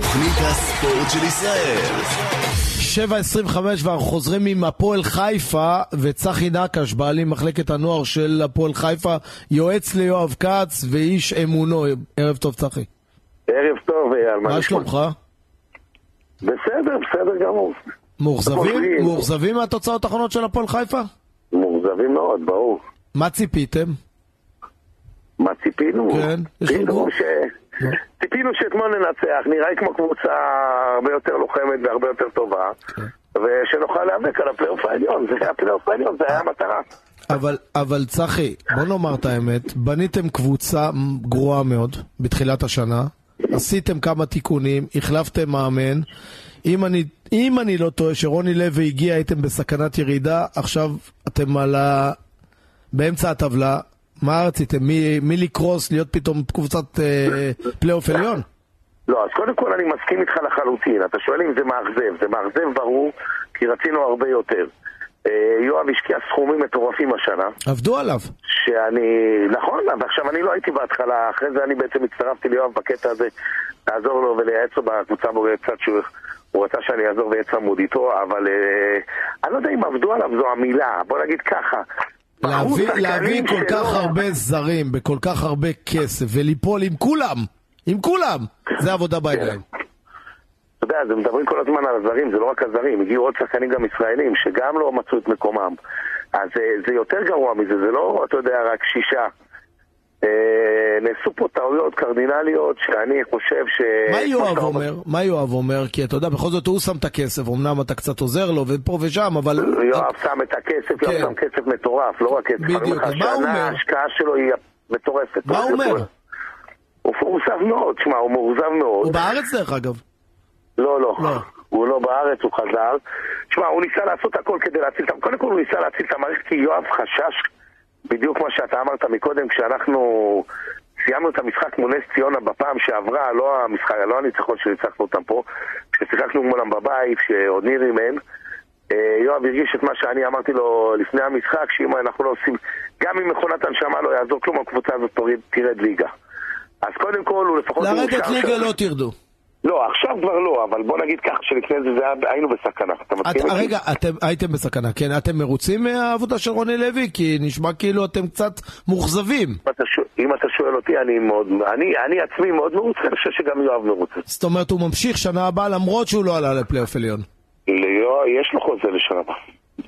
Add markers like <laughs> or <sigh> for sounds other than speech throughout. תוכנית הספורט של ישראל. 7.25 ואנחנו חוזרים עם הפועל חיפה וצחי נקש, בעלים מחלקת הנוער של הפועל חיפה, יועץ ליואב כץ ואיש אמונו. ערב טוב צחי. ערב טוב, אייל. מה נשמע? שלומך? בסדר, בסדר גמור. מאוכזבים? מאוכזבים. מאוכזבים מהתוצאות האחרונות של הפועל חיפה? מאוכזבים מאוד, ברור. מה ציפיתם? מה ציפינו? כן, יש לנו גרוע. ציפינו ש... ציפינו שאתמול ננצח, נראה כמו קבוצה הרבה יותר לוחמת והרבה יותר טובה, כן. ושנוכל להיאבק על הפלייאוף העליון, זה היה הפלייאוף העליון, זה היה המטרה. אבל, אבל צחי, בוא נאמר את האמת, בניתם קבוצה גרועה מאוד בתחילת השנה, עשיתם כמה תיקונים, החלפתם מאמן, אם אני, אם אני לא טועה שרוני לוי הגיע, הייתם בסכנת ירידה, עכשיו אתם על ה... באמצע הטבלה, מה רציתם? מי, מי לקרוס, להיות פתאום קבוצת אה, פלייאוף עליון? לא, אז קודם כל אני מסכים איתך לחלוטין. אתה שואל אם זה מאכזב. זה מאכזב ברור, כי רצינו הרבה יותר. אה, יואב השקיע סכומים מטורפים השנה, עבדו עליו. שאני... נכון, אבל עכשיו אני לא הייתי בהתחלה, אחרי זה אני בעצם הצטרפתי ליואב בקטע הזה, לעזור לו ולייעץ לו בקבוצה בו קצת שהוא... הוא רצה שאני אעזור ואהיה צמוד איתו, אבל אה, אני לא יודע אם עבדו עליו זו המילה, בוא נגיד ככה. בחרו להביא, שחקנים להביא כל שלא- כך הרבה זרים בכל כך הרבה כסף וליפול עם כולם, עם כולם, זה עבודה בעיניים. אתה יודע, אז הם מדברים כל הזמן על הזרים, זה לא רק הזרים, הגיעו עוד שחקנים גם ישראלים, שגם לא מצאו את מקומם. אז אה, זה יותר גרוע מזה, זה לא, אתה יודע, רק שישה. אה, נעשו פה טעויות קרדינליות, שאני חושב ש... מה יואב אומר? מה יואב אומר? כי אתה יודע, בכל זאת הוא שם את הכסף, אמנם אתה קצת עוזר לו ופה ושם, אבל... לא, אה, יואב שם את הכסף, יואב כן. שם כסף מטורף, לא רק כסף. אני אומר בדיוק, לך, אז מה הוא השנה אומר? ההשקעה שלו היא מטורפת. מה הוא אומר? הוא מאוכזב מאוד, שמע, הוא מאוכזב מאוד. הוא בארץ דרך אגב. לא, לא. לא. הוא לא בארץ, הוא חזר. שמע, הוא ניסה לעשות הכל כדי להציל את המערכת. קודם כל הוא ניסה להציל את המערכת כי יואב חשש בדיוק מה שאתה אמרת מקודם, כשאנחנו סיימנו את המשחק מול נס ציונה בפעם שעברה, לא המשחק, לא הניצחון שניצחנו אותם פה, כששיחקנו מולם בבית, שעוד ניר אימן. אה, יואב הרגיש את מה שאני אמרתי לו לפני המשחק, שאם אנחנו לא עושים, גם אם מכונת הנשמה לא יעזור כלום, הקבוצה הזאת תוריד- תרד ליגה. אז קודם כל הוא לפחות... לרדת מאושר ליגה ש- לא תרדו. לא, עכשיו כבר לא, אבל בוא נגיד ככה שלפני זה, זה היה, היינו בסכנה. אתה את- מסכים איתי? רגע, אתם הייתם בסכנה, כן? אתם מרוצים מהעבודה של רוני לוי? כי נשמע כאילו אתם קצת מאוכזבים. אם אתה, שואל, אם אתה שואל אותי, אני מאוד, אני, אני עצמי מאוד מרוצה, אני חושב שגם יואב מרוצה. זאת אומרת, הוא ממשיך שנה הבאה למרות שהוא לא עלה לפלייאוף עליון. ליואב, יש לו חוזה לשנה הבאה.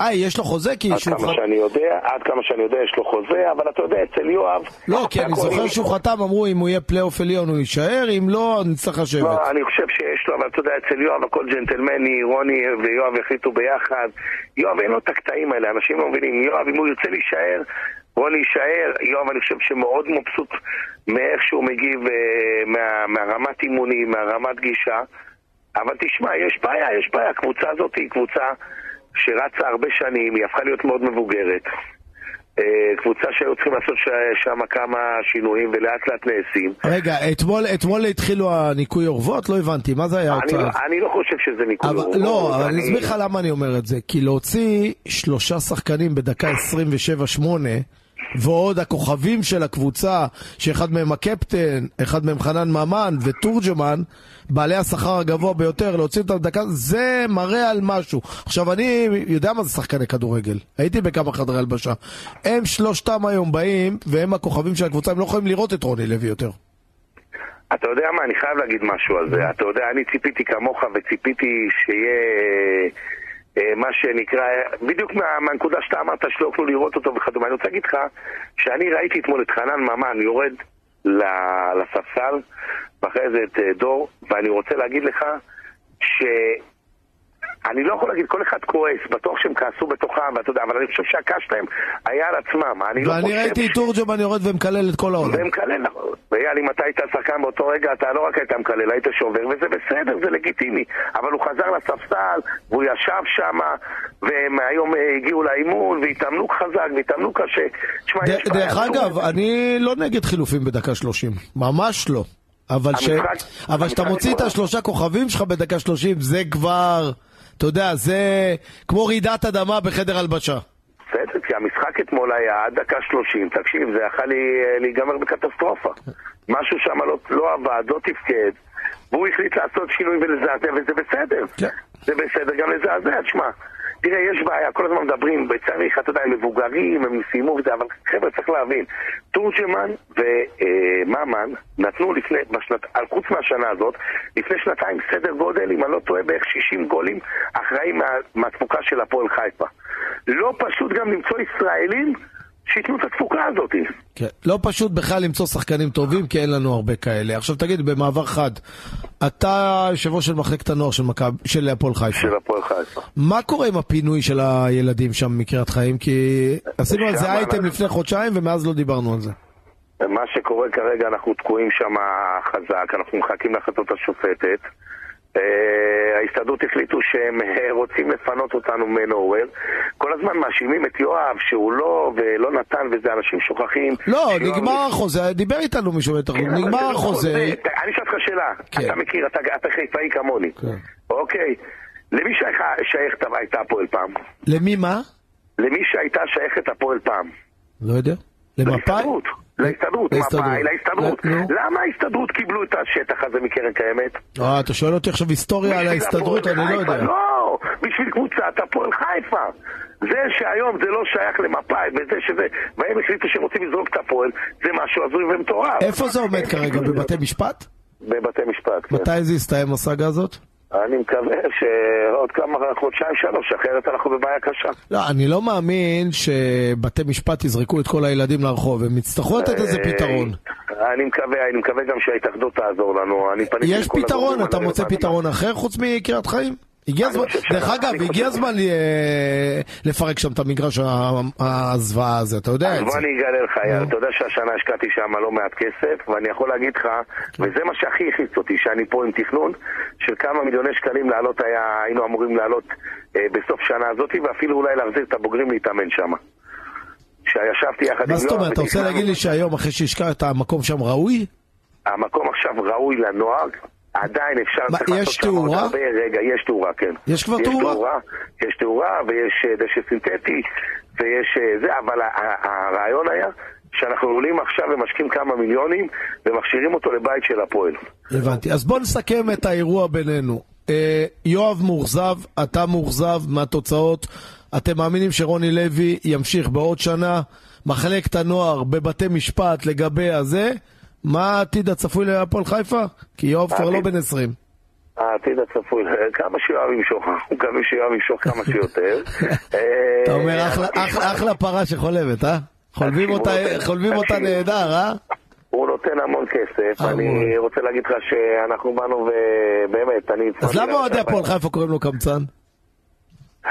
אה, יש לו חוזה? כי עד שהוא... כמה חת- שאני יודע, עד כמה שאני יודע יש לו חוזה, אבל אתה יודע, אצל יואב... לא, כי אני הכל- זוכר שהוא חתם, אמרו אם הוא יהיה פלייאוף עליון הוא יישאר, אם לא, נצטרך לשבת. לא, אני חושב שיש לו, אבל אתה יודע, אצל יואב הכל ג'נטלמני, רוני ויואב החליטו ביחד. יואב אין לו את הקטעים האלה, אנשים לא מבינים. יואב, אם הוא ירצה להישאר, רוני יישאר. יואב, אני חושב שמאוד מבסוט מאיך שהוא מגיב, אה, מה, מהרמת אימונים, מהרמת גישה. אבל תשמע, יש בעיה, יש בעיה. הקבוצה הזאת היא קבוצה שרצה הרבה שנים, היא הפכה להיות מאוד מבוגרת. אה, קבוצה שהיו צריכים לעשות ש- שם כמה שינויים ולאט לאט נעשים. רגע, אתמול- אתמול התחילו הניקוי אורוות? לא הבנתי, מה זה היה אני, ההוצאה? אני לא חושב שזה ניקוי אבל אורות. לא, אבל אני אני- אסביר לך למה אני אומר את זה. כי להוציא שלושה שחקנים בדקה 27-8, ועוד הכוכבים של הקבוצה, שאחד מהם הקפטן, אחד מהם חנן ממן ותורג'מן, בעלי השכר הגבוה ביותר, להוציא אותם בדקה, זה מראה על משהו. עכשיו, אני יודע מה זה שחקני כדורגל. הייתי בכמה חדרי הלבשה. הם שלושתם היום באים, והם הכוכבים של הקבוצה, הם לא יכולים לראות את רוני לוי יותר. אתה יודע מה, אני חייב להגיד משהו על זה. אתה יודע, אני ציפיתי כמוך וציפיתי שיהיה אה, מה שנקרא, בדיוק מה, מהנקודה שאתה אמרת שלא יוכלו לראות אותו וכדומה. אני רוצה להגיד לך שאני ראיתי אתמול את חנן ממן יורד ל- לספסל, ואחרי זה את אה, דור, ואני רוצה להגיד לך ש... אני לא יכול להגיד, כל אחד כועס, בטוח שהם כעסו בתוכם, ואתה יודע, אבל אני חושב שהכעס שלהם היה על עצמם. אני לא ואני חושב ראיתי את תורג'מן יורד ומקלל את כל העולם. זה מקלל, נכון. ואייל, אם אתה היית שחקן באותו רגע, אתה לא רק היית מקלל, היית שובר, וזה בסדר, זה לגיטימי. אבל הוא חזר לספסל, והוא ישב שם, והם היום אה, הגיעו לאימון, והתאמנו חזק, והתאמנו קשה. תשמע, ד- יש בעיה. דרך אגב, אני לא נגד חילופים בדקה 30, ממש לא. אבל ש- המשחק- אבל כשאתה המשחק מוציא את נגמר. השלושה כוכבים שלך בדקה 30, זה כבר, אתה יודע, זה כמו רעידת אדמה בחדר הלבשה. בסדר, כי המשחק אתמול היה עד דקה שלושים, תקשיב, זה יכל לי- אה, להיגמר בקטסטרופה. משהו שם לא, לא עבד, לא תפקד, והוא החליט לעשות שינוי ולזעזע, וזה בסדר. כן. זה בסדר גם לזעזע, תשמע. תראה, יש בעיה, כל הזמן מדברים, צריך, אתה יודע, הם מבוגרים, הם סיימו וזה, אבל חבר'ה, צריך להבין, תורג'מן וממן נתנו לפני, בשנת, על חוץ מהשנה הזאת, לפני שנתיים סדר גודל, אם אני לא טועה, בערך 60 גולים אחראים מה, מהתפוקה של הפועל חיפה. לא פשוט גם למצוא ישראלים שייתנו את התפוקה הזאת. כן. לא פשוט בכלל למצוא שחקנים טובים, כי אין לנו הרבה כאלה. עכשיו תגיד, במעבר חד, אתה יושב ראש של מחלקת הנוער של, מכב... של הפועל חיפה. של הפועל חיפה. מה קורה עם הפינוי של הילדים שם מקריית חיים? כי עשינו על שם זה אייטם אנחנו- לפני חודשיים ומאז לא דיברנו על זה. מה שקורה כרגע, אנחנו תקועים שם חזק, אנחנו מחכים להחלטות השופטת. אה, ההסתדרות החליטו שהם אה, רוצים לפנות אותנו מנורר. כל הזמן מאשימים את יואב שהוא לא ולא נתן וזה, אנשים שוכחים. לא, שיואב- נגמר החוזה, דיבר איתנו מישהו בטח, כן, אבל זה נגמר לא החוזה. חוזה. אני אשאל אותך שאלה, כן. אתה מכיר, אתה אתה חיפאי כמוני. כן. אוקיי, למי שייך- שייכת הייתה הפועל פעם? למי מה? למי שהייתה שייכת הפועל פעם? לא יודע. למפאי? להסתדרות, להסתדרות, להסתדרות. מפא"י, להסתדרות. ל- נו. למה ההסתדרות קיבלו את השטח הזה מקרן קיימת? אה, אתה שואל אותי עכשיו היסטוריה על בשביל ההסתדרות? הפועל אני לא חיפה, יודע. לא, בשביל קבוצת הפועל חיפה. זה שהיום זה לא שייך למפא"י, וזה שזה, והם החליטו שהם רוצים לזרוק את הפועל, זה משהו הזוי ומטורף. איפה זה לא, עומד כרגע? בבתי משפט? בבתי משפט, כן. מתי זה יסתיים הסאגה הזאת? אני מקווה שעוד כמה חודשיים שלוש, אחרת אנחנו בבעיה קשה. לא, אני לא מאמין שבתי משפט יזרקו את כל הילדים לרחוב, הם יצטרכו לתת איזה פתרון. אה, אני מקווה, אני מקווה גם שההתאחדות תעזור לנו. אני פניתי יש לכל פתרון, הגורמים אתה מוצא הרלוונטיים. פתרון אחר חוץ מקריית חיים? הגיע אני הזמן, חושב דרך שאנחנו- אגב, אני הגיע חושב- הזמן אה, לפרק שם את המגרש ה- הזוועה הזה, אתה יודע אז את בוא זה. אני אגלה לך, יאיר, נו. אתה יודע שהשנה השקעתי שם לא מעט כסף, ואני יכול להגיד לך, כן. וזה מה שהכי החיץ אותי, שאני פה עם תכנון, של כמה מיליוני שקלים לעלות היה, היינו אמורים לעלות אה, בסוף שנה הזאת, ואפילו אולי להחזיר את הבוגרים להתאמן שם. כשישבתי יחד עם מה זאת יואב אומרת, אתה רוצה ותכננו, להגיד לי שהיום אחרי שהשקעת המקום שם ראוי? המקום עכשיו ראוי לנוער, עדיין אפשר, מה, צריך לעשות יש שם עוד תאורה? הרבה- רגע, יש תאורה, כן. יש כבר יש תאורה? תאורה, יש תאורה ויש אה, דשא סינתטי ויש אה, זה, אבל ה- ה- הרעיון היה שאנחנו עולים עכשיו ומשקיעים כמה מיליונים ומכשירים אותו לבית של הפועל. הבנתי. אז בוא נסכם את האירוע בינינו. אה, יואב מאוכזב, אתה מאוכזב מהתוצאות. אתם מאמינים שרוני לוי ימשיך בעוד שנה, מחלקת הנוער בבתי משפט לגבי הזה? מה העתיד הצפוי להפועל חיפה? כי יואב כבר לא העתיד? בן 20. העתיד הצפוי, אה, כמה שיואב ימשוך, אנחנו מקווים שיואב ימשוך כמה <laughs> שיותר. אה, אתה אומר, אחלה- תשמע, אחלה- אחלה פרה שחולבת, אה? חולבים תקשיבו, אותה- תקשיבו. חולבים אותה נהדר, אה? הוא נותן המון כסף, המון. אני רוצה להגיד לך שאנחנו באנו ובאמת, אני... אז הצבעתי למה אוהדי להרכב הפועל חיפה קוראים לו קמצן? אה,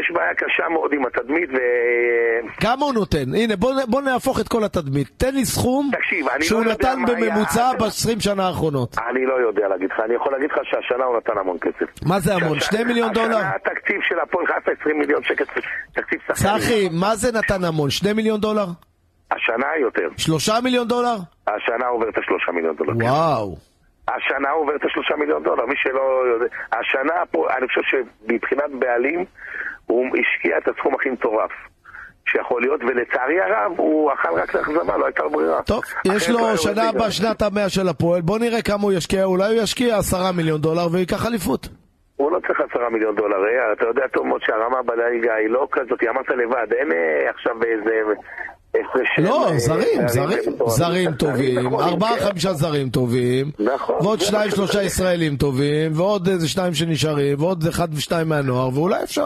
יש בעיה קשה מאוד עם התדמית, ו- כמה הוא נותן? הנה, בוא, נ- בוא נהפוך את כל התדמית. תן לי סכום תקשיב, אני שהוא לא יודע נתן מה היה בממוצע עד- ב-20 שנה האחרונות. אני לא יודע להגיד לך, אני יכול להגיד לך שהשנה הוא נתן המון כסף. מה זה המון? שהשנה- 2 מיליון דולר? השנה התקציב של הפועל חיפה 20 מיליון שקל, תקציב שחקנים. צחי, מה זה נתן המון? 2 מיליון דולר? השנה יותר. 3 מיליון דולר? השנה הוא עובר את השלושה מיליון דולר. וואו. השנה הוא עובר את השלושה מיליון דולר, מי שלא יודע. השנה פה, אני חושב שמבחינת בעלים, הוא השקיע את הסכום הכי מטורף שיכול להיות, ולצערי הרב, הוא אכל רק לאכזבה, לא הייתה לו ברירה. טוב, יש אחרת לא היה לו יורד שנה ליגה. הבאה שנת המאה של הפועל, בוא נראה כמה הוא ישקיע, אולי הוא ישקיע 10 מיליון דולר וייקח אליפות. הוא לא צריך עשרה מיליון דולר, אה? אתה יודע טוב מאוד שהרמה בליגה היא לא כזאת, אמרת לבד, אין אה, עכשיו איזה... הפרש לא, של, זרים, אה, זרים, ומטורף. זרים טובים, נכון, ארבעה כן. חמישה זרים טובים, נכון. ועוד זה שניים מה שלושה שזה. ישראלים טובים, ועוד איזה שניים שנשארים, ועוד אחד ושניים מהנוער, ואולי אפשר.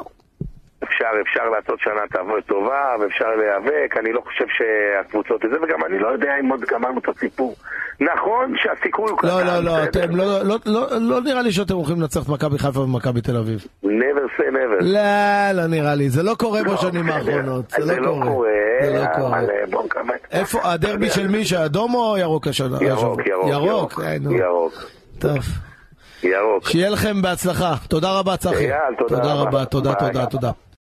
אפשר, אפשר לעשות שנה תבוא טובה, ואפשר להיאבק, אני לא חושב שהקבוצות זה, וגם אני לא יודע אם עוד גמרנו את הסיפור. נכון שהסיכוי הוא לא, לא, לא, בסדר. אתם לא, לא, לא, לא נראה לי שאתם הולכים לנצח את מכבי חיפה ומכבי תל אביב. never say never. לא, לא נראה לי, זה לא קורה לא, בשנים בסדר. האחרונות, זה לא קורה. זה לא קורה. אבל אה, בוא נקווה. איפה, הדרבי של מי שאדום או ירוק השנה? ירוק, ירוק, ירוק, אה, נו. ירוק, טוב. ירוק. שיהיה לכם בהצלחה, תודה רבה צחי. אייל, תודה תודה רבה. רבה, תודה, ביי. תודה, תודה.